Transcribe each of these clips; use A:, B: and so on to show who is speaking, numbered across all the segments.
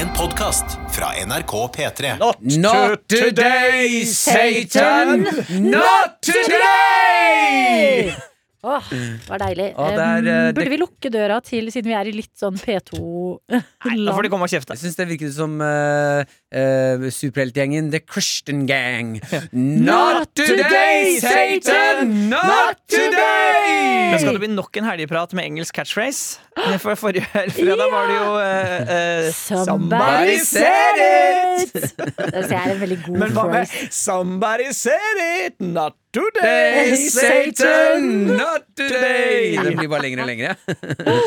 A: En podkast fra NRK P3.
B: Not today, Satan! Not today!
C: Åh, det var deilig.
B: Ja, det er,
C: Eh,
B: eh, det-
C: Burde vi lukke døra til, siden vi er i litt sånn
D: Da får
C: P2-land?
D: de komme og kjefte.
B: Jeg syns det virket som eh, eh, superheltgjengen The Christian Gang. Not today, Satan! Not
D: Da skal
B: today!
D: det bli nok en helgeprat med engelsk catchphrase. For forrige fredag var det jo eh, eh,
C: Somebody
D: said it!
C: Det synes jeg er en veldig god
D: Men hva med
C: phrase.
D: Somebody said it, not today,
B: Satan,
D: Satan!
B: not today! Den blir bare lengre og lengre.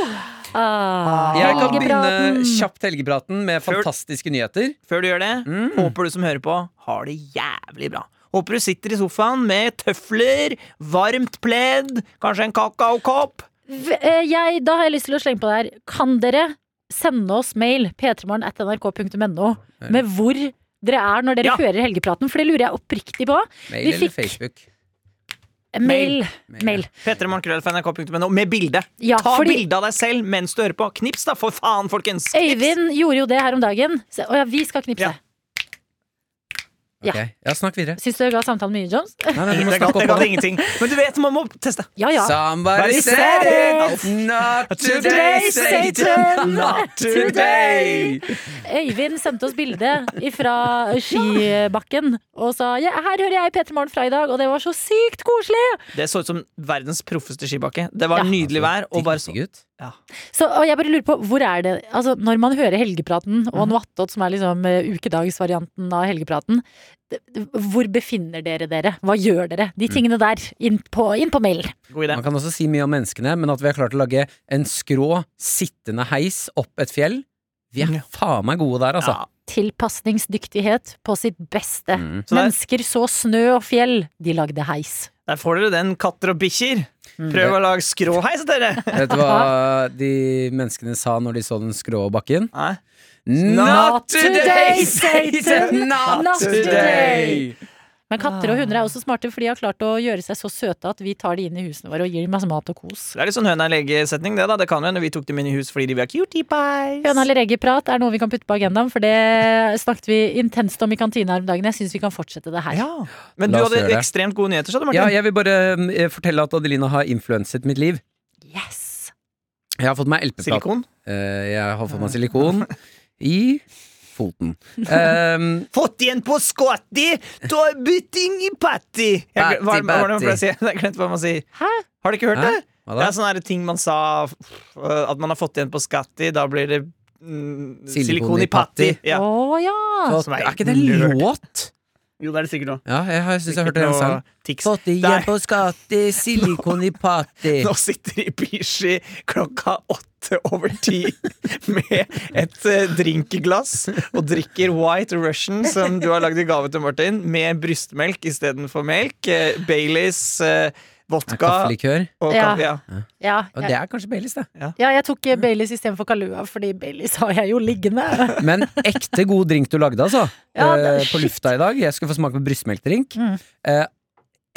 C: Ah,
B: Jeg kan begynne
C: helgepraten.
B: kjapt helgepraten med
D: Før-
B: fantastiske nyheter.
D: Før du gjør det,
B: Mm.
D: håper du som hører på, har det jævlig bra. Håper du sitter i sofaen med tøfler, varmt pledd, kanskje en kakaokopp.
C: V- eh, jeg, da har jeg lyst til å slenge på det her. Kan dere sende oss mail p3morgen.nrk.no med hvor dere er når dere
D: Ja.
C: hører helgepraten? For det lurer jeg oppriktig på.
B: Mail
C: Vi
B: eller
C: fikk-
B: Facebook?
C: Mail.
B: Mail.
C: Mail.
D: P3morgenkrøll.nrk.no med bilde.
C: Ja,
D: Ta
C: fordi-
D: bilde av deg selv mens du hører på. Knips, da, for faen, folkens! Knips.
C: Øyvind gjorde jo det her om dagen. Så, å ja, vi skal knipse.
D: Ja.
C: Ja.
B: Ok, Ja, snakk videre.
C: Syns du jeg ga samtalen mye, Jones?
B: Nei, nei, du
D: Ingen-
B: må
D: Det
B: snakke
D: kan, det
B: oppå
D: kan
B: det.
D: ingenting. Men du vet, man må teste.
C: Ja ja.
B: Somebody said it! Not today, Satan! Not today!
C: Øyvind sendte oss bilde fra skibakken og sa ja, her hører jeg P3 Morgen fra i dag, og det var så sykt koselig!
D: Det så ut som verdens proffeste skibakke. Det var
C: Ja.
D: nydelig vær. Og bare så,
B: Gutt.
D: ja.
C: Så, og jeg bare lurer på, hvor er det Altså, når man hører Helgepraten og Noattot, som er liksom eh, ukedagsvarianten av Helgepraten, det- hvor befinner dere dere? Hva gjør dere?
B: Mm.
C: De tingene der. Inn på, inn på mailen.
D: God idé.
B: Man kan også si mye om menneskene, men at vi har klart å lage en skrå, sittende heis opp et fjell Vi er
D: Ja.
B: faen meg gode der, altså.
D: Ja.
C: Tilpasningsdyktighet på sitt beste.
B: Mm.
D: Så der-
C: Mennesker så snø og fjell, de lagde heis.
D: Der får dere den, katter og bikkjer.
B: Mm.
D: Prøv å lage skråheis, dere!
B: Vet du hva de menneskene sa når de så den skrå bakken?
D: Nei.
B: Not today,
C: today,
B: Satan! Not today!
C: Men katter og hunder er også smarte, for de har klart å gjøre seg så søte at vi tar de inn i husene våre og gir dem masse mat og kos.
D: Det er litt sånn høna eller egget-setning, det. da Det kan jo hende vi tok dem inn i hus fordi de var cutie pies.
C: Høna eller egget-prat er noe vi kan putte på agendaen, for det snakket vi intenst om i kantina her om dagen. Jeg syns vi kan fortsette det her.
D: Ja. Men du
B: La oss
D: hadde
B: gjøre det.
D: ekstremt gode nyheter, sa du,
B: Ja,
D: Martin.
B: jeg vil bare eh, fortelle at Adelina har influenset mitt liv.
C: Yes!
B: Jeg har fått meg LP-plate.
D: Silikon.
B: Eh, jeg har fått meg silikon i foten. Um,
D: Fått igjen på skotti, ta bytting i patti! Jeg,
B: Patti,
D: hva, hva var det man
B: patti.
D: pleier å si? Jeg glemte hva man sier.
C: Hæ?
D: Har du ikke hørt
B: Hæ?
D: det?
B: hva
D: Det
B: da?
D: er sånne her ting man sa f- At man har fått igjen på skatti Da blir det mm,
B: Silikon
D: silikon
B: i
D: i patti
B: patti.
D: ja.
C: Å ja!
B: Fått-
D: som er
B: er ikke det
D: nerd.
B: låt?
D: Jo, det er det sikkert nå
B: Ja, jeg har- syns jeg hørte den sangen. Fått igjen på skatti, silikon i patti.
D: Nå sitter de i Bishi klokka åtte over ti Med et eh, drinkglass Og drikker White Russian Som du har lagd i gave til Martin Med brystmelk i stedet for melk eh, Baileys, eh,
B: Er
D: vodka
B: Kaffelikør.
D: og
C: Ja.
D: kaffe ja.
C: Ja,
B: Og det
C: jeg,
B: er kanskje Baileys, det.
C: ja, jeg tok eh, Baileys istedenfor Kalua, fordi Baileys har jeg jo liggende.
B: Men ekte god drink du lagde, altså.
C: Ja, det er
B: Eh, på
C: shit.
B: lufta i dag. Jeg skulle få smake på brystmelkdrink.
C: Mm.
B: Eh,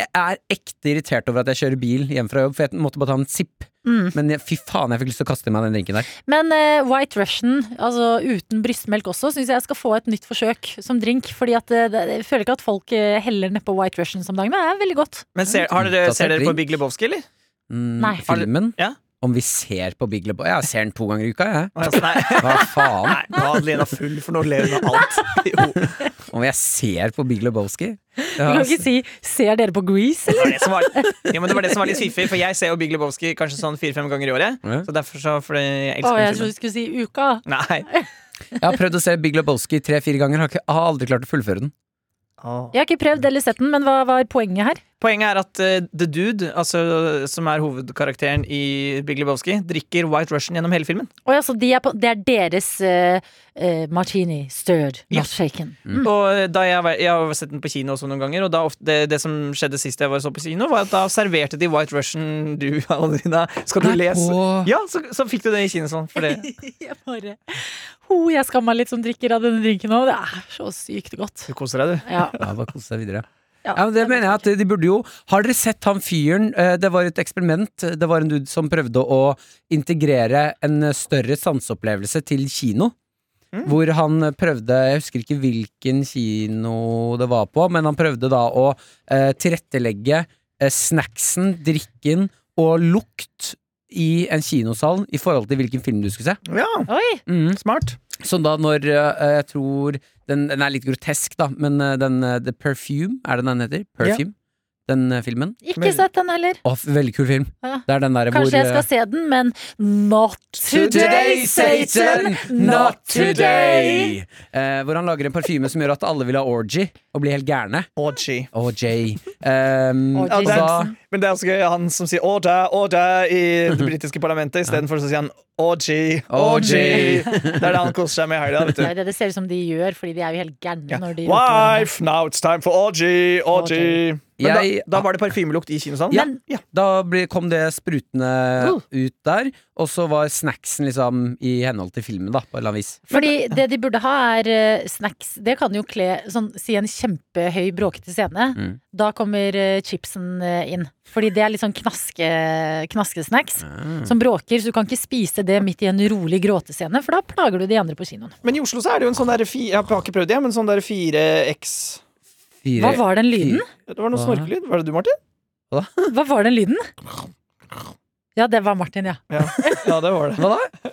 B: jeg er ekte irritert over at jeg kjører bil hjem fra jobb, for jeg måtte bare ta en sipp.
C: Mm.
B: Men jeg, fy faen, jeg fikk lyst til å kaste i meg den drinken der.
C: Men eh, White Russian, altså uten brystmelk også, syns jeg skal få et nytt forsøk som drink. Fordi at eh, det, jeg føler ikke at folk eh, heller nedpå White Russian som dagen. Men det er veldig godt.
D: Men ser, har dere, ser dere på Big Lebowski, eller?
B: Mm,
C: Nei.
B: Filmen.
D: Ja.
B: Om vi ser på Big Lebowski Jeg ser den to ganger i uka, jeg.
D: Å, ja, Nei,
B: Hva faen?
D: Nei, nå er Adelina full, for nå ler hun av alt. Jo, det
B: Om jeg ser på Big Lebowski?
C: Du
B: Ja,
C: kan ikke si 'ser dere på Grease'? eller?
D: var det som var, ja, men det var det som var litt fiffig, for jeg ser jo Big Lebowski kanskje sånn fire-fem ganger i året.
B: Ja.
D: Så derfor så fordi jeg
C: Å,
D: elsker
C: jeg
D: den
C: trodde
D: filmen.
C: du skulle si 'uka'.
D: Nei.
B: jeg har prøvd å se Big Lebowski tre-fire ganger, har, ikke, har aldri klart å fullføre den.
C: Jeg har ikke prøvd eller sett den, men hva var poenget her?
D: Poenget er at eh, The Dude, altså, som er hovedkarakteren i Big Lebowski, drikker White Russian gjennom hele filmen.
C: Å ja, så de er på, det er deres eh, eh, martini stirred, not
D: Ja. Mm.
C: shaken.
D: Og eh, da jeg, var- jeg har sett den på kino også noen ganger, og da ofte, det, det som skjedde sist jeg var så på kino, var at da serverte de White Russian du, Adelina. Skal du
B: Nei,
D: lese?
B: på-
D: Ja, så, så fikk du det i kinosalen. For det.
C: Jeg bare Ho, jeg skammer meg litt som drikker av denne drinken nå. Det er så sykt godt.
D: Du koser deg, du.
C: Ja.
B: Ja, bare kose deg videre.
C: Ja,
B: Ja, men det mener jeg at de burde jo Har dere sett han fyren? Eh, Det var et eksperiment. Det var en dude som prøvde å integrere en større sanseopplevelse til kino. Hvor han prøvde, jeg husker ikke hvilken kino det var på, men han prøvde da å eh, tilrettelegge eh, snacksen, drikken og lukt i en kinosal i forhold til hvilken film du skulle se.
D: Ja,
C: Oi!
B: Mm.
D: smart.
B: Sånn da når eh, jeg tror den, den er litt grotesk, da, men eh, den eh, The Perfume, er det den heter? Perfume? Den eh, filmen?
C: Ikke
D: Men-
C: sett den heller.
B: Å, f- veldig kul film.
C: Ja.
B: Det er den der hvor
C: Kanskje jeg
B: eh,
C: skal se den, men not today, Satan! Not today!
B: Eh, hvor han lager en parfyme som gjør at alle vil ha orgy og bli helt gærne.
D: Orgy.
B: Og Jay. Um,
C: Orgy.
B: og da,
D: Men det er også gøy, han som sier 'order, order' i det britiske parlamentet. Istedenfor så sier han 'orgy, orgy'.
B: Orgy.
D: Det er det han koser seg med i helga. vet
C: Det
D: du.
C: er jo det det ser ut som de gjør, fordi de er jo helt gærne
D: Ja.
C: når de
D: Wife, now it's time for orgy, orgy. Men da,
B: Jeg-
D: da var det parfymelukt i kinosalen?
B: Ja.
D: ja.
B: da ble, kom det sprutende
C: Uh.
B: ut der, og så var snacksen liksom i henhold til filmen, da, på et eller annet vis.
C: Fordi det de burde ha, er eh, snacks. Det kan jo kle sånn, Si en kjempehøy, bråkete scene.
B: Mm.
C: Da kommer eh, chipsen eh, inn. Fordi det er litt sånn knaske, knaskesnacks som bråker. Så du kan ikke spise det midt i en rolig gråtescene, for da plager du de andre på kinoen.
D: Men i Oslo så er det jo en sånn der fi, Jeg har ikke prøvd det, men sånn der 4X
B: Fire-
C: Hva var den lyden?
D: Det var noe
B: Hva?
D: snorkelyd. Var det du, Martin?
C: Hva var den lyden? Ja, det var Martin, ja.
D: Ja, ja det var det.
B: Hva da?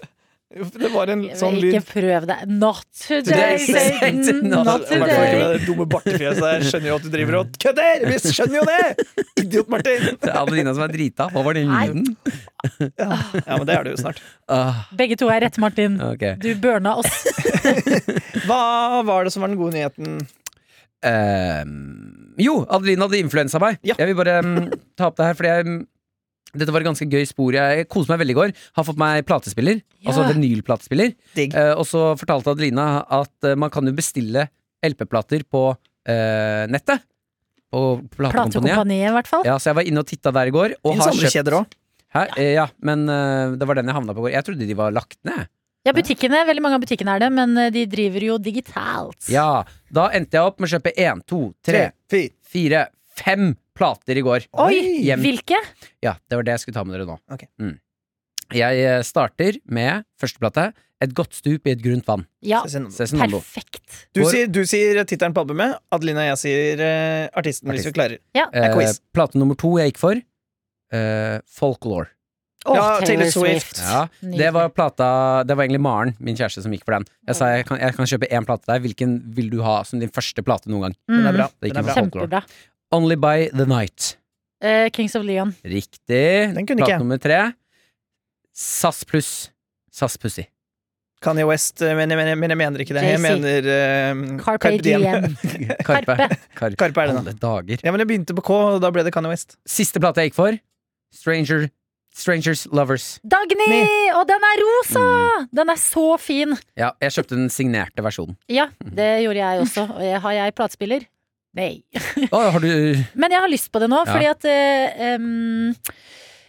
D: Det var en sånn
C: ikke
D: lyd.
C: prøv det. Not today,
B: Today,
C: Satan!
B: Satan, not
C: Not
D: I hvert fall ikke
C: today!
D: med det dumme bartefjeset. Jeg skjønner jo at du driver og kødder! Vi skjønner jo det! Idiot, Martin!
B: Det er Adelina som er drita. Hva var den
C: Nei.
B: lyden?
D: Ja, ja men det er det jo snart.
B: Ah,
C: Begge to er rett, Martin.
B: ok.
C: Du burna oss.
D: Hva var det som var den gode nyheten?
B: Ehm, jo, Adelina hadde influensa meg.
D: Ja.
B: Jeg vil bare mm, ta opp det her, fordi jeg mm, dette var et ganske gøy spor. Jeg koste meg veldig i går. Har fått meg platespiller.
C: Ja.
B: Altså vinylplatespiller.
D: Digg.
B: Eh, og så fortalte Adelina at eh, man kan jo bestille LP-plater på eh, nettet. På platekompaniet.
C: Platekompaniet, i hvert fall.
B: Ja, så jeg var inne og titta der i går. Og
D: Finnes
B: har
D: andre
B: kjøpt
D: kjeder òg.
B: Hæ? Eh, ja, men eh, det var den jeg havna på i går. Jeg trodde de var lagt ned.
C: Ja, butikkene, veldig mange av butikkene er det, men eh, de driver jo digitalt.
B: Ja, Da endte jeg opp med å kjøpe én, to, tre,
D: fire.
B: fire, fem plater i går.
C: Oi,
B: Hjem.
C: hvilke?
B: Ja, det var det jeg skulle ta med dere nå.
D: Ok.
B: Mm. Jeg eh, starter med førsteplate. Et godt stup i et grunt vann.
C: Ja,
B: Cezinando.
C: perfekt.
D: Du sier, du sier tittelen på albumet. Adelina og jeg sier eh, artisten, hvis vi
B: Artist.
D: klarer. er
B: Eh,
D: quiz.
B: plate nummer to jeg gikk for. Eh, folklore.
C: Åh,
D: Ja, Taylor Swift.
B: Ja,
C: Nydelig.
B: det var plata Det var egentlig Maren, min kjæreste, som gikk for den. Jeg sa jeg kan, jeg kan kjøpe én plate til deg. Hvilken vil du ha som din første plate noen gang?
D: Den er
C: Mm,
D: bra.
B: Det gikk
D: Den, er bra.
B: bra.
C: Kjempebra.
B: Only by the night.
C: Eh, Kings of Leon.
B: Riktig.
D: Den kunne ikke jeg.
B: Plate nummer tre. SAS pluss. SAS Pussy.
D: Kanye West, eh, men jeg mener, men jeg mener ikke det. Jeg
C: Jay-Z.
D: mener eh,
C: Carpe Diem.
B: Karpe.
C: Karpe.
B: Karpe.
D: Karpe er det nå.
B: Alle dager.
D: Ja, men jeg begynte på K, og da ble det Kanye West.
B: Siste plate jeg gikk for Stranger, Strangers Lovers Mm.
C: Dagny! Og den er rosa! Den er så fin!
B: Ja, jeg kjøpte den signerte versjonen
C: Ja, det
B: Mm.
C: gjorde jeg også. Og jeg, har jeg platespiller? Nei.
B: Å, har du
C: Men jeg har lyst på det nå,
B: Ja.
C: fordi at eh, em,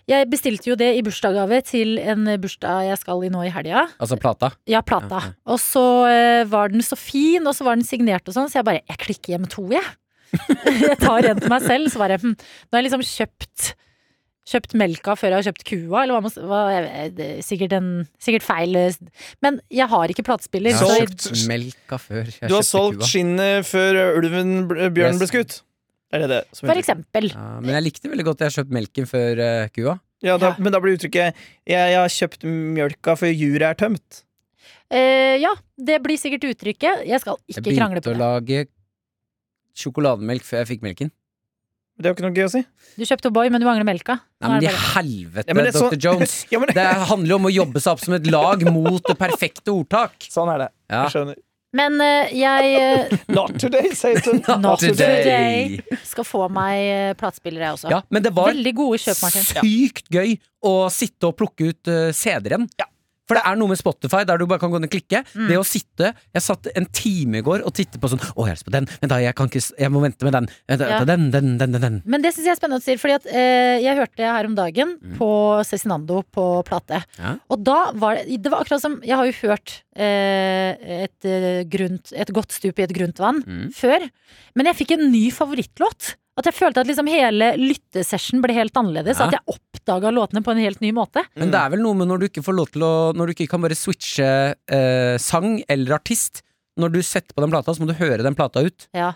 C: jeg bestilte jo det i bursdagsgave til en bursdag jeg skal i nå i helga.
B: Altså plata
C: Ja, plata.
B: Ja,
C: Og så eh, var den så fin, og så var den signert og sånn, så jeg bare Jeg klikker hjem to, jeg. jeg tar en til meg selv, så bare hm. Nå har jeg liksom kjøpt Kjøpt melka før jeg har kjøpt kua, eller hva man s- hva, jeg- det er sikkert, en, sikkert feil eh, s- Men jeg har ikke platespiller.
B: Jeg
D: Ja.
C: Så
B: har
C: jeg,
D: Solgt.
B: kjøpt melka før jeg
D: Du har
B: kjøpte
D: solgt
B: kua.
D: skinnet før ulven bl- bjørnen
B: Yes.
D: ble skutt. Er det det som
C: for
D: er uttrykket?
C: eksempel.
B: ja, Men jeg likte veldig godt Jeg har kjøpt melken før eh, kua
D: Ja, da,
C: Ja.
D: men da blir uttrykket 'jeg, jeg har kjøpt mjølka før juret er tømt'.
C: Eh, ja, det blir sikkert uttrykket. Jeg skal
B: Jeg
C: ikke krangle
B: begynte å
C: på det.
B: lage sjokolademelk før jeg fikk melken
D: Det er jo ikke noe gøy å si.
C: Du kjøpte O'boy, men du mangler melka. Nå
B: Nei, men i
C: er det bare-
B: helvete,
D: Ja, men det er så-
B: Dr. Jones
D: Ja, men,
B: Det handler jo om å jobbe seg opp som et lag Mot det perfekte ordtak
D: sånn er det.
B: Ja
D: Jeg skjønner.
C: Men eh, jeg eh,
D: Not today, Satan.
C: Not today.
B: Today.
C: skal få meg eh, platespiller, jeg også.
B: Ja, men det var
C: Veldig gode kjøp, Martin.
B: sykt gøy å sitte og plukke ut uh, CD-en. For det er noe med Spotify der du bare kan gå ned og klikke. Det å sitte Jeg satt en time i går og tittet på sånn Å, jeg er på den, men da, jeg kan ikke s- Jeg må vente med den. Vent,
C: Ja.
B: vent, Den, den, den, den, den.
C: Men det syns jeg er spennende å si, fordi at eh, jeg hørte her om dagen på Cezinando på plate.
B: Mm. Ja.
C: Og da var det Det var akkurat som Jeg har jo hørt eh, et, eh, grunt, et godt stup i et grunt vann
B: Mm.
C: før, men jeg fikk en ny favorittlåt At jeg følte at liksom hele lyttesession ble helt annerledes.
B: Ja.
C: At jeg oppdaga låtene på en helt ny måte.
B: Men det er vel noe med når du ikke får lov til å Når du ikke kan bare switche eh, sang eller artist. Når du setter på den plata, så må du høre den plata ut.
C: Ja.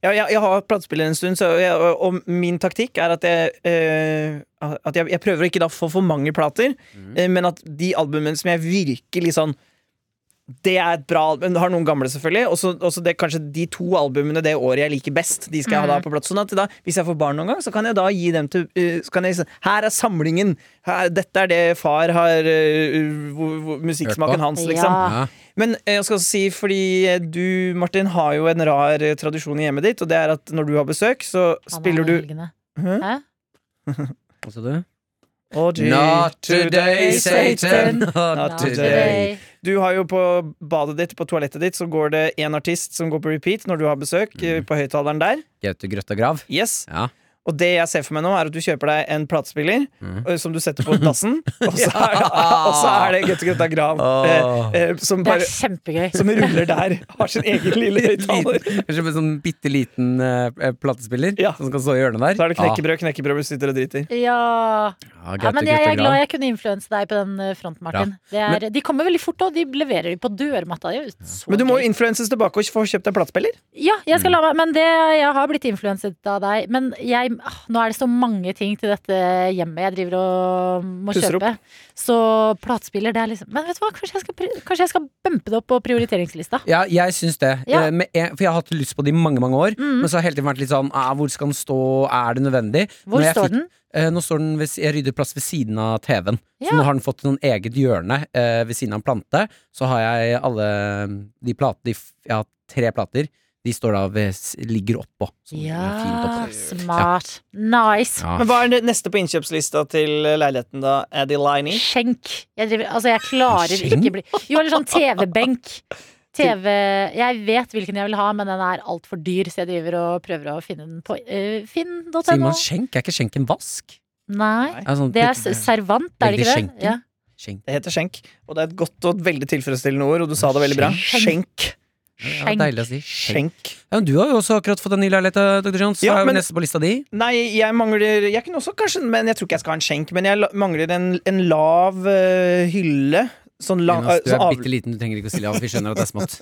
D: Ja, jeg, jeg har platespiller en stund, så jeg, og- og min taktikk er at jeg, eh, at jeg, jeg prøver å ikke da få for mange plater, eh, men at de albumene som jeg virkelig sånn det er et bra album. Har noen gamle, selvfølgelig. Også, også det, kanskje de to albumene det året jeg liker best. De skal jeg ha
C: Mm.
D: da på plass. Sånn at da, hvis jeg får barn noen gang, så kan jeg da gi dem til eh, så kan jeg, si, Her er samlingen! Her, dette er det far har eh, hvor- hvor- Musikksmaken hans,
C: Ja.
D: liksom.
B: Ja.
D: Men eh, jeg skal også si, fordi eh, du, Martin, har jo en rar eh, tradisjon i hjemmet ditt, og det er at når du har besøk, så
C: Han
D: spiller
C: er
D: du
C: helgene.
D: Hæ?
C: Hæ?
B: Hva sa du?
D: Oh, gee.
C: Satan.
D: Not today. Du har jo på badet ditt, på toalettet ditt, så går det en artist som går på repeat når du har besøk,
B: Mm.
D: eh, på høyttaleren der.
B: Gaute Grøtta Grav.
D: Yes.
B: Ja.
D: Og det jeg ser for meg nå, er at du kjøper deg en platespiller
B: Mhm.
D: eh, som du setter på dassen, og så er det, og så er det Gutte Gutta Grav
B: Åh.
D: eh, eh, som
C: Det er
D: bare
C: kjempegøy.
D: som ruller der. Har sin egen lille høyttaler.
B: Liten- Kanskje med sånn bitte liten eh, platespiller
D: Ja.
B: som skal stå i hjørnet der.
D: Så er det knekkebrød, knekkebrød, hvis du sitter og driter.
C: Ja.
B: Ah,
C: ja,
B: Gaute
C: men jeg, jeg
B: Grøtta
C: er glad
B: Grav.
C: jeg kunne influense deg på den eh, fronten, Martin. Det er, de kommer veldig fort, og de leverer de på dørmatta. Det er jo så
D: Men du må
C: gøy.
D: jo influenses tilbake og få kjøpt deg platespiller.
C: Ja, jeg
B: Mm.
C: skal la meg Men det, jeg har blitt influenset av deg. Men jeg, ah, nå er det så mange ting til dette hjemmet jeg driver og må
D: Pusser opp.
C: kjøpe. Så platespiller, det er liksom Men vet du hva, kanskje jeg skal, pri- kanskje jeg skal bumpe det opp på prioriteringslista.
B: Ja, jeg syns det.
C: Ja. Mm.
B: Eh, Med en, for jeg har hatt lyst på det i mange mange år, men så har jeg hele tiden vært litt sånn ah, Hvor skal den stå? Er det nødvendig?
C: Hvor
B: Når jeg
C: står
B: fikk-
C: den?
B: Eh, nå står den ved, si- Jeg rydder plass ved siden av TV-en.
C: Ja.
B: Så nå har den fått noen eget hjørne eh, ved siden av en plante. Så har jeg alle de platene de, f- Jeg har tre plater. De står da ved, s- ligger oppå. Så det er fint
C: Ja,
B: oppå.
C: smart. Nice.
B: Ja.
D: Men hva er det neste på innkjøpslista til leiligheten, da? Adeline?
C: Skjenk. Jeg driver, altså, jeg klarer
B: Skjenk?
C: ikke bli Jo, eller sånn TV-benk. TV Jeg vet hvilken jeg vil ha, men den er altfor dyr, så jeg driver og prøver å finne den på eh, finn.no.
B: Sier man skjenk? Er ikke skjenk en vask?
C: Nei.
B: Er sånn,
C: Det er s- servant, er
B: Veldig
C: det ikke det?
B: skjenken.
C: Ja.
B: skjenk.
D: Det heter skjenk, og det er et godt og veldig tilfredsstillende ord, og du sa det veldig bra. Skjenk.
B: Ja, det er deilig å si. Skjenk.
D: Skjenk.
B: Ja, men du har jo også akkurat fått en ny leilighet, eh, Dr. Jones.
D: Ja,
B: Ja,
D: men-
B: men... Neste på lista di.
D: Nei, jeg mangler Jeg kunne også kanskje Men jeg tror ikke jeg skal ha en skjenk, men jeg la- mangler en, en lav eh, hylle. Sånn lang
B: Jonas, du
D: sånn
B: er
D: av-
B: bitte liten, du trenger ikke å si ja. Vi skjønner at det er smått.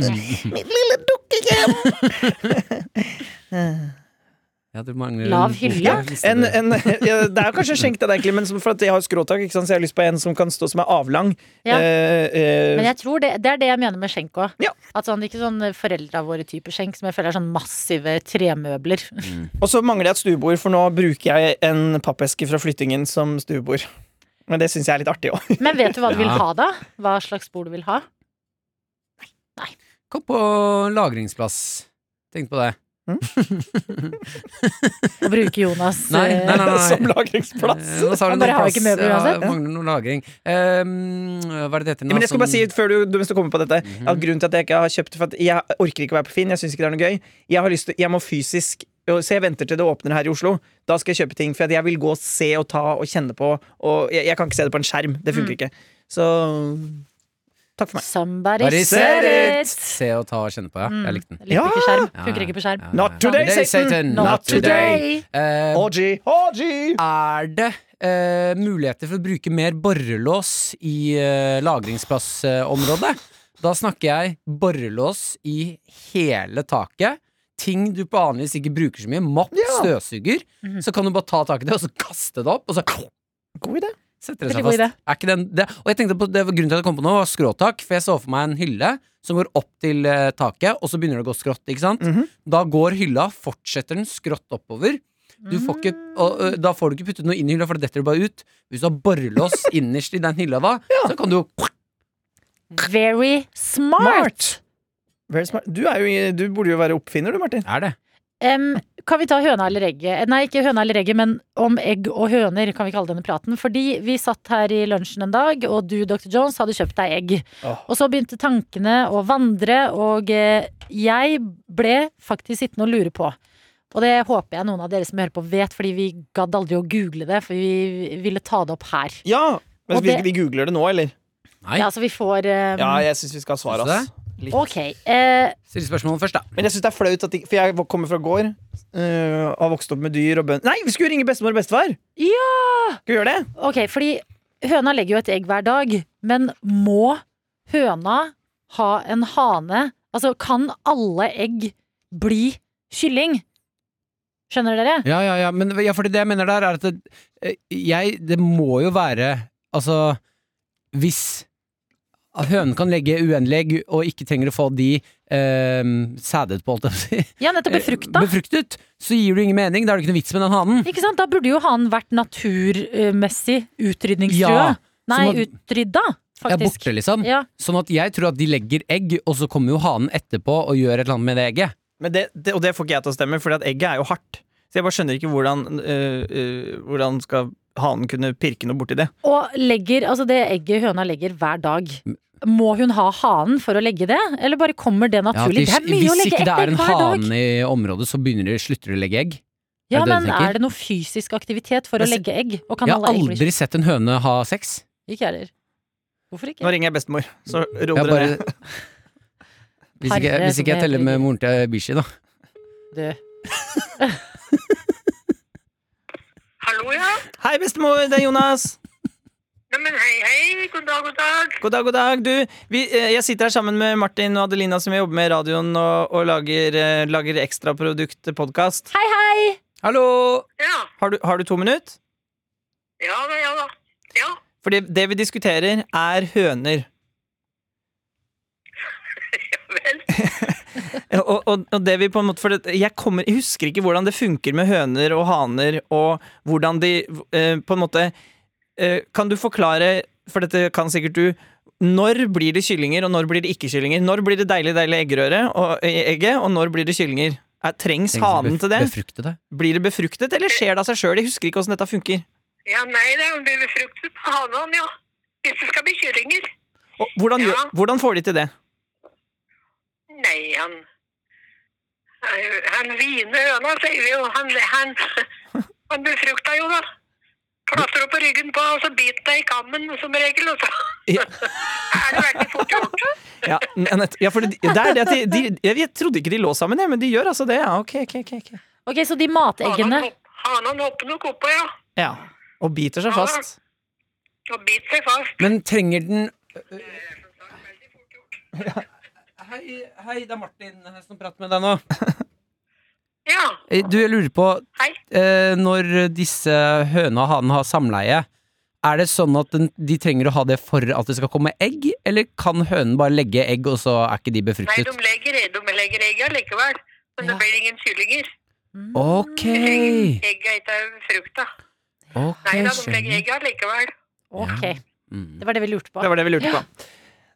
B: Ja, du mangler en
C: Lav
B: bok
C: hylle?
B: der, liste
D: en,
B: du.
D: en, ja, det er jo kanskje en skjenk, det er egentlig, men som- for at jeg har skråtak, ikke sant, så jeg har lyst på en som kan stå som er avlang.
C: Ja.
D: Eh, eh,
C: Men jeg tror det, det er det jeg mener med skjenk òg.
D: Ja.
C: At sånn, ikke sånn foreldra våre type skjenk, som jeg føler er sånn massive tremøbler.
D: Og så mangler jeg et stuebord, for nå bruker jeg en pappeske fra flyttingen som stuebord. Men det syns jeg er litt artig òg.
C: Men vet du hva du vil
B: Ja.
C: ha, da? Hva slags bord du vil ha?
B: Kom på lagringsplass. Tenk på det.
C: Å bruke Jonas
B: Nei,
C: eh,
B: nei, nei.
D: som lagringsplass.
B: Eh, nå sa du
C: Han
B: noe
C: bare har ikke
B: plass,
C: møbler
B: ja,
C: uansett.
B: Mangler noe lagring. Ehm, hva er det det heter?
D: Ja, Men jeg skal bare si før du, du, mens du kommer på dette
B: Mhm.
D: at Grunnen til at jeg ikke har kjøpt For at jeg orker ikke å være på Finn. Jeg syns ikke det er noe gøy. Jeg har lyst til, jeg må fysisk Så jeg venter til det åpner her i Oslo. Da skal jeg kjøpe ting. For at jeg vil gå og se og ta og kjenne på. Og jeg, jeg kan ikke se det på en skjerm. Det
C: Mm.
D: funker ikke. Så takk for meg.
C: Somebody
B: Bare
C: said
D: said
C: it!
B: Se og ta og kjenne på, ja. Jeg likte den.
C: Litt
D: Ja!
C: ikke skjerm.
B: Ja,
C: Funker ikke på skjerm.
B: ja, ja.
D: Not today, Satan.
B: Not
D: Not
B: today.
D: today.
B: Eh,
D: Orgy, orgy!
B: er det eh, muligheter for å bruke mer borrelås i eh, lagringsplassområdet? da snakker jeg borrelås i hele taket. Ting du vanligvis ikke bruker så mye. Mapp, støvsuger. Så kan du bare ta tak i det, og så kaste det opp, og så
D: God idé.
B: setter det seg
C: Veldig god
B: fast. Er ikke den, det, og jeg tenkte på, det var grunnen til at jeg kom på nå, var skråtak. For jeg så for meg en hylle som går opp til eh, taket, og så begynner det å gå skrått. ikke sant?
D: Mhm.
B: Da går hylla, fortsetter den skrått oppover. Du får ikke, og, ø, da får du ikke puttet noe inn i hylla, for det detter bare ut. Hvis du har borrelås innerst i den hylla, da, så kan du jo
C: Mm. Very smart!
D: Very smart. Du, er jo, du burde jo være oppfinner, du, Martin.
B: Er det?
C: Em, kan vi ta høna eller egget? Eh, Nei, ikke høna eller egget, men om egg og høner, kan vi kalle denne praten. Fordi vi satt her i lunsjen en dag, og du, Dr. Jones, hadde kjøpt deg egg.
D: Åh.
C: Og så begynte tankene å vandre, og eh, jeg ble faktisk sittende og lure på. Og det håper jeg noen av dere som hører på vet, fordi vi gadd aldri å google det, for vi ville ta det opp her.
D: Ja! Men
C: Og
D: vi,
C: det-
D: vi googler det nå, eller?
B: Nei.
C: Ja, så vi får em, Um,
D: Ja, jeg syns vi skal ha svar,
B: Synes du
D: ass.
B: det?
D: Litt.
C: Ok. Eh,
B: Still spørsmålet først, da.
D: Men jeg syns det er flaut, at de, for jeg kommer fra gård. øh, har vokst opp med dyr og bønder. Nei, vi skulle ringe bestemor og bestefar!
C: ja!
D: Skal vi gjøre det?
C: Ok, fordi høna legger jo et egg hver dag, men må høna ha en hane? Altså, kan alle egg bli kylling? Skjønner dere?
B: Ja, ja, ja, men ja, fordi det jeg mener der, er at det, eh, jeg Det må jo være Altså, hvis at hønen kan legge uendelig egg og ikke trenger å få de eh, sædet på, holdt jeg på å si.
C: Ja, nettopp befrukta.
B: Befruktet, så gir det jo ingen mening. Da er det ikke noe vits med den hanen.
C: Ikke sant? Da burde jo hanen vært naturmessig utrydningstrua.
B: Ja,
C: Nei,
B: sånn at-
C: utrydda,
B: Ja,
C: faktisk.
B: borte, liksom.
C: Ja.
B: Sånn at jeg tror at de legger egg, og så kommer jo hanen etterpå og gjør et eller annet med det egget.
D: Men det, det, og det får ikke jeg til å stemme, for egget er jo hardt. Så jeg bare skjønner ikke hvordan, øh, øh, hvordan skal hanen kunne pirke noe borti det.
C: Og legger, altså det egget høna legger hver dag. Må hun ha hanen for å legge det, eller bare kommer det
B: Ja, at de-
C: naturlig? det er mye å
B: hvis
C: legge
B: ikke
C: ett
B: det er
C: egg
B: en
C: hver dag.
B: hane i området, så begynner de, slutter de å legge egg.
C: Ja,
B: Er det det
C: men
B: du tenker?
C: er det noe fysisk aktivitet for å
D: Jeg se-
C: legge egg? Og kan
B: Jeg har
C: alle egg bli
B: aldri sett en høne ha sex.
C: Ikke jeg heller. Hvorfor
D: Nå
C: ikke?
D: ringer jeg bestemor, så ro
B: Jeg
D: dere
B: bare,
D: ned.
B: hvis, ikke,
C: Parre,
B: hvis
C: som
B: ikke jeg
C: det
B: teller
C: heter.
B: med moren til Bishi, da.
C: Du.
E: Hallo, ja.
D: Hei, bestemor, det er Jonas!
E: Neimen, hei, hei. God dag, god dag.
D: God dag, god dag. Du, vi, eh, jeg sitter her sammen med Martin og Adelina, som jeg jobber med i radioen og, og lager, eh, lager ekstraprodukt-podkast.
C: Hei, hei!
D: Hallo!
E: Ja.
D: Har du, har du to minutter?
E: Ja da, ja da. Ja.
D: Fordi det vi diskuterer, er høner.
E: ja vel.
D: Og, og, og det vi på en måte For det, jeg, kommer, jeg husker ikke hvordan det funker med høner og haner, og hvordan de eh, på en måte eh, Kan du forklare, for dette kan sikkert du, når blir det kyllinger, og når blir det ikke kyllinger? Når blir det deilig, deilig eggerøre og eh, egget, og når blir det kyllinger? Er, trengs hanen til det?
B: Befrukte det.
D: Blir det befruktet, eller skjer det av seg sjøl? Jeg husker ikke åssen dette funker.
E: Ja, nei, det er jo blir befruktet på hanen, ja. Hvis det skal bli kyllinger.
D: Og hvordan, gjør,
E: Ja.
D: hvordan får de til det?
E: Nei, han Nei, Han hvine høna, sier vi jo. Han, han, han befrukta jo, da. Plasser opp på ryggen på, og så biter deg i kammen som regel, og så
D: Ja.
E: er det veldig fort gjort.
D: Ja, nett- ja, for det, det er det at de, de, jeg, jeg trodde ikke de lå sammen, jeg, men de gjør altså det. Ja, ok, ok, ok, ok.
C: Ok, så de mateggene
E: Hanen hopp- Hanen hopper nok oppå, ja.
D: Ja. Og biter seg fast.
E: Og biter seg fast.
B: Men trenger den
E: Veldig fort gjort.
B: Hei, hei, det er Martin her som prater med deg nå.
E: Ja.
B: Eh, Du, jeg lurer på
E: Hei.
B: eh, Når disse høna og hanen har samleie, er det sånn at den, de trenger å ha det for at det skal komme egg, eller kan hønen bare legge egg, og så er ikke de
E: Nei, de
B: befruktet?
E: legger, de legger egg allikevel. Men det blir ingen kyllinger.
B: Ok,
E: Egga ikke er frukta.
B: ok,
E: Nei da, de legger
B: skjønner.
E: egg allikevel.
C: Ok,
B: Mm.
C: det var det vi lurte på.
D: Det var det vi lurte på.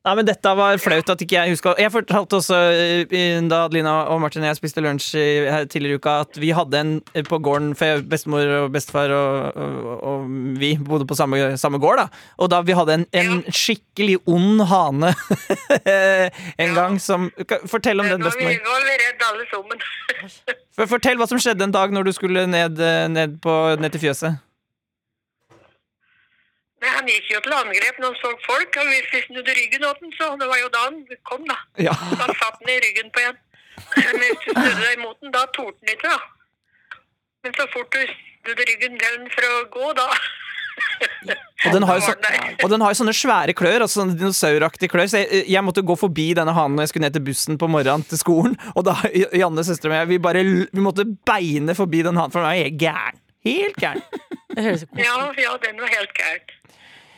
D: Nei, men Dette var flaut at ikke jeg huska. Jeg fortalte også eh, da Adelina og Martin og jeg spiste lunsj i- her tidligere i uka, at vi hadde en eh, på gården For jeg- bestemor og bestefar og, og, og vi bodde på samme, samme gård, da. Og da vi hadde en, en skikkelig ond hane en gang som Fortell om
E: Nå
D: den,
E: er vi
D: bestemor.
E: nå er vi redde alle sammen.
D: For- Fortell hva som skjedde en dag når du skulle ned, eh, ned, på, ned til fjøset.
E: Nei, han gikk jo til angrep når han så folk, og hvis vi snudde ryggen åt den, så det var jo da han kom, da.
D: Ja.
E: Da satt han i ryggen på en. Men hvis du snudde deg mot den, da torde han ikke, da. Men så fort du snudde ryggen til den for å gå, da
D: Og den har jo,
E: Da var
D: så,
E: den der.
D: og den har jo sånne svære klør, altså sånne dinosauraktige klør. Så jeg, jeg måtte gå forbi denne hanen når jeg skulle ned til bussen på morgenen til skolen. Og da Janne, søstera mi, vi bare l- vi måtte beine forbi den hanen, for den var helt gæren. Helt gæren.
C: Det høres koselig
E: Ja, ja, den var helt gæren.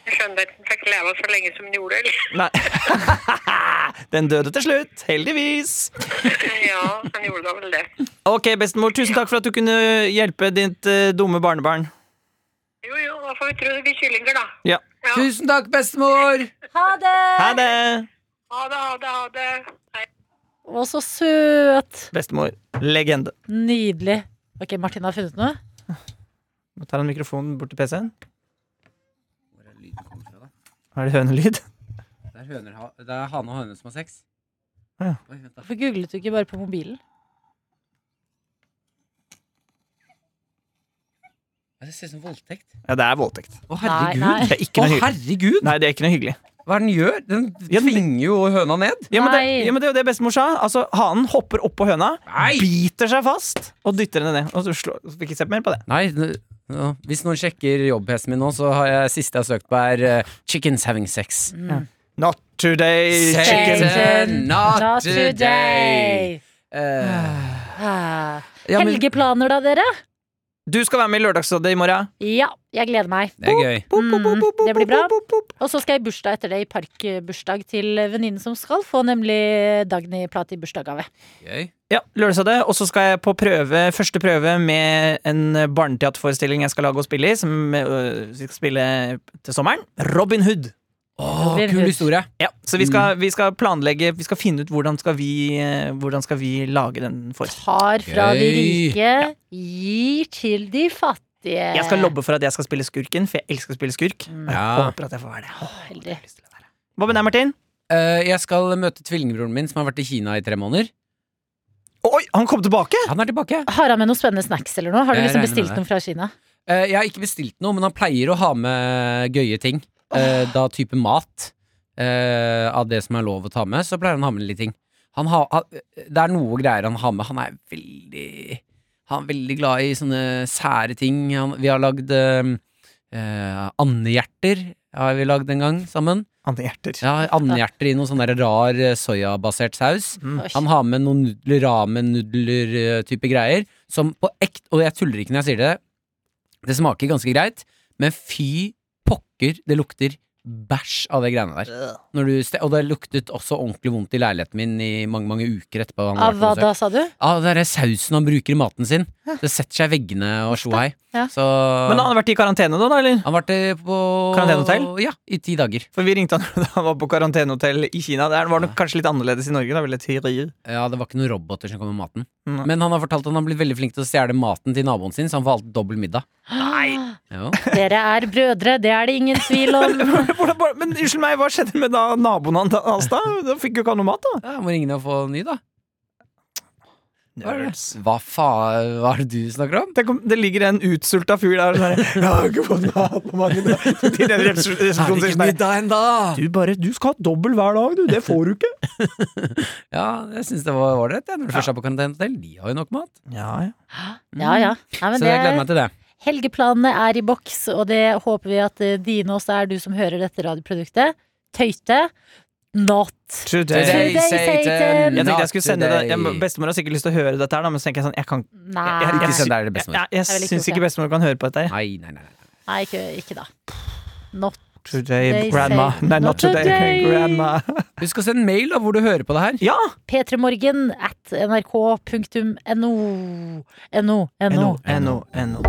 E: Jeg skjønner ikke at den fikk leve så lenge som den gjorde, eller?
D: Nei. Den døde til slutt, heldigvis.
E: Ja, han gjorde da vel det.
D: Ok, bestemor, tusen takk for at du kunne hjelpe ditt eh, dumme barnebarn.
E: Jo, jo, da får vi tro det blir kyllinger, da.
D: Ja.
E: Ja.
B: Tusen takk, bestemor!
C: Ha det!
D: Ha det,
E: Ha det, ha det, ha det. Hei.
C: Å, så søt!
D: bestemor. Legende.
C: Nydelig. Ok, Martin har funnet noe?
D: Nå tar han mikrofonen bort til PC-en. Er det hønelyd?
B: Det er, høner, ha- det er hane og høne som har sex.
D: Ja.
B: Oi, vent da.
C: Hvorfor googlet du ikke bare på mobilen?
B: Ja, Det ser ut som voldtekt.
D: Ja, det er voldtekt.
B: Å, herregud!
C: Nei, nei.
D: Det er ikke noe
B: Å,
D: hyggelig.
B: herregud!
D: Nei, det er ikke noe hyggelig.
B: Hva er det den gjør? Den
D: Ja, den-
B: tvinger jo høna ned.
D: Ja men, det,
C: Nei.
D: ja, men det er jo det bestemor sa. Altså, Hanen hopper oppå høna,
B: Nei.
D: biter seg fast og dytter henne ned. Og så slår, så fikk jeg se mer på det.
B: Nei, n- ja. Hvis noen sjekker jobb-PC-en min nå, så har jeg siste jeg har søkt på, er eh, 'Chickens having sex'.
D: Not today,
B: Sex.
D: chicken.
B: Chicken, not today. Eh,
C: Ah.
B: ja, men, det
C: Helgeplaner da, dere?
D: Du skal være med i Lørdagsrådet i morgen.
C: Ja, jeg gleder meg.
B: er gøy.
C: Mm, det blir bra. Og så skal jeg i bursdag etter det, i parkbursdag til venninnen som skal få, nemlig Dagny Plat i bursdagsgave.
B: gøy.
D: Ja, Lørdagsrådet. Og så skal jeg på prøve, første prøve med en barneteaterforestilling jeg skal lage og spille i, som øh, vi skal spille til sommeren. Robin Hood.
B: Åh,
C: Det blir
B: kul
C: høyt.
B: historie.
D: Ja, så vi skal, vi skal planlegge, vi skal finne ut hvordan skal vi, øh, hvordan skal vi lage den forestillingen.
C: Tar fra de
B: Gøy.
C: rike, gir til de fattige.
D: Jeg skal lobbe for at jeg skal spille skurken, for jeg elsker å spille skurk. Og jeg
B: Ja.
D: håper at jeg får være det. Åh, jeg
C: Heldig.
D: har lyst til å være det. Hva med deg, Martin?
B: Eh, jeg skal møte tvillingbroren min, som har vært i Kina i tre måneder.
D: Oi, han kom tilbake!
B: Han er tilbake.
C: Har han med noen spennende snacks eller noe? Har du
B: Jeg
C: liksom
B: regner
C: bestilt
B: med det.
C: noe fra Kina?
B: Eh, jeg har ikke bestilt noe, men han pleier å ha med gøye ting. Eh, da type mat. eh, av det som er lov å ta med, så pleier han å ha med litt ting. Han har, han- det er noe greier han har med. Han er veldig Han er veldig glad i sånne sære ting. Han, vi har lagd eh, eh, andehjerter. Har vi lagd en gang sammen?
D: Anne Hjerter.
B: Ja, Andehjerter i noe sånn der rar eh, soyabasert saus.
D: Mm.
B: Han har med noen nudler, ramen-nudler-type greier. Som på ekt, og jeg tuller ikke når jeg sier det, det smaker ganske greit, men fy pokker, det lukter bæsj av det greiene der. Når du, ste- og det luktet også ordentlig vondt i leiligheten min i mange mange uker etterpå. Han
C: Av hva da, sa du?
B: Av den der sausen han bruker i maten sin. Det setter seg i veggene og sjo hei.
C: Ja.
B: Så
D: Men han har vært i karantene da, da, eller?
B: han var til på
D: Karantenehotell?
B: Ja, i ti dager.
D: For vi ringte han da han var på karantenehotell i Kina. Det var nok kanskje litt annerledes i Norge, da, vil jeg tro.
B: Ja, det var ikke noen roboter som kom med maten.
D: Nei.
B: Men han har fortalt at han har blitt veldig flink til å stjele maten til naboen sin, så han får alltid dobbel middag. Jo.
C: Dere er brødre, det er det ingen tvil om.
D: Hvordan- hvordan- Men unnskyld meg, hva skjedde med da naboen han- hans da? Da fikk jo ikke han noe mat, da.
B: Ja, må ringe ned og få ny, da. Hva er det?
D: Nerds.
B: Hva faen hva er det du snakker om?
D: Tenk om det ligger en utsulta fyr der og sånn her, Jeg har ikke fått mat på mange dager. Til den resepsjon- resepsjonen sier sånn her,
B: middag ennå?
D: Du bare, du skal ha dobbel hver dag, du. Det får du ikke.
B: Ja, jeg syns det var ålreit, jeg, når du først er på karantenehotell. De har jo nok mat.
D: Ja, ja.
C: Ja, ja. Nei, men
B: Så jeg gleder
C: det,
B: meg til det.
C: helgeplanene er i boks, og det håper vi at eh, dine også er, du som hører dette radioproduktet. Tøyte. Not.
D: Today.
C: Today, Satan.
D: Jeg tenkte jeg
B: Not
D: skulle sende det jeg,
B: today.
D: Bestemor har sikkert lyst til å høre dette her, da, men så tenker jeg sånn Jeg kan
C: Nei.
D: jeg- jeg-
B: Ikke send det her til bestemor.
D: Jeg, jeg,
C: Det er veldig
D: syns
C: koselig.
D: ikke bestemor kan høre på dette.
B: Nei, nei, nei. nei.
C: Nei, ikke, ikke da. Not.
D: Today,
C: They
D: grandma.
C: say
D: Nei, not
C: not
D: today,
C: today.
D: grandma.
B: Husk å sende mail da, hvor du hører på det her.
D: Ja!
C: P3morgen at nrk.no. NO. NO.
D: NO, NO.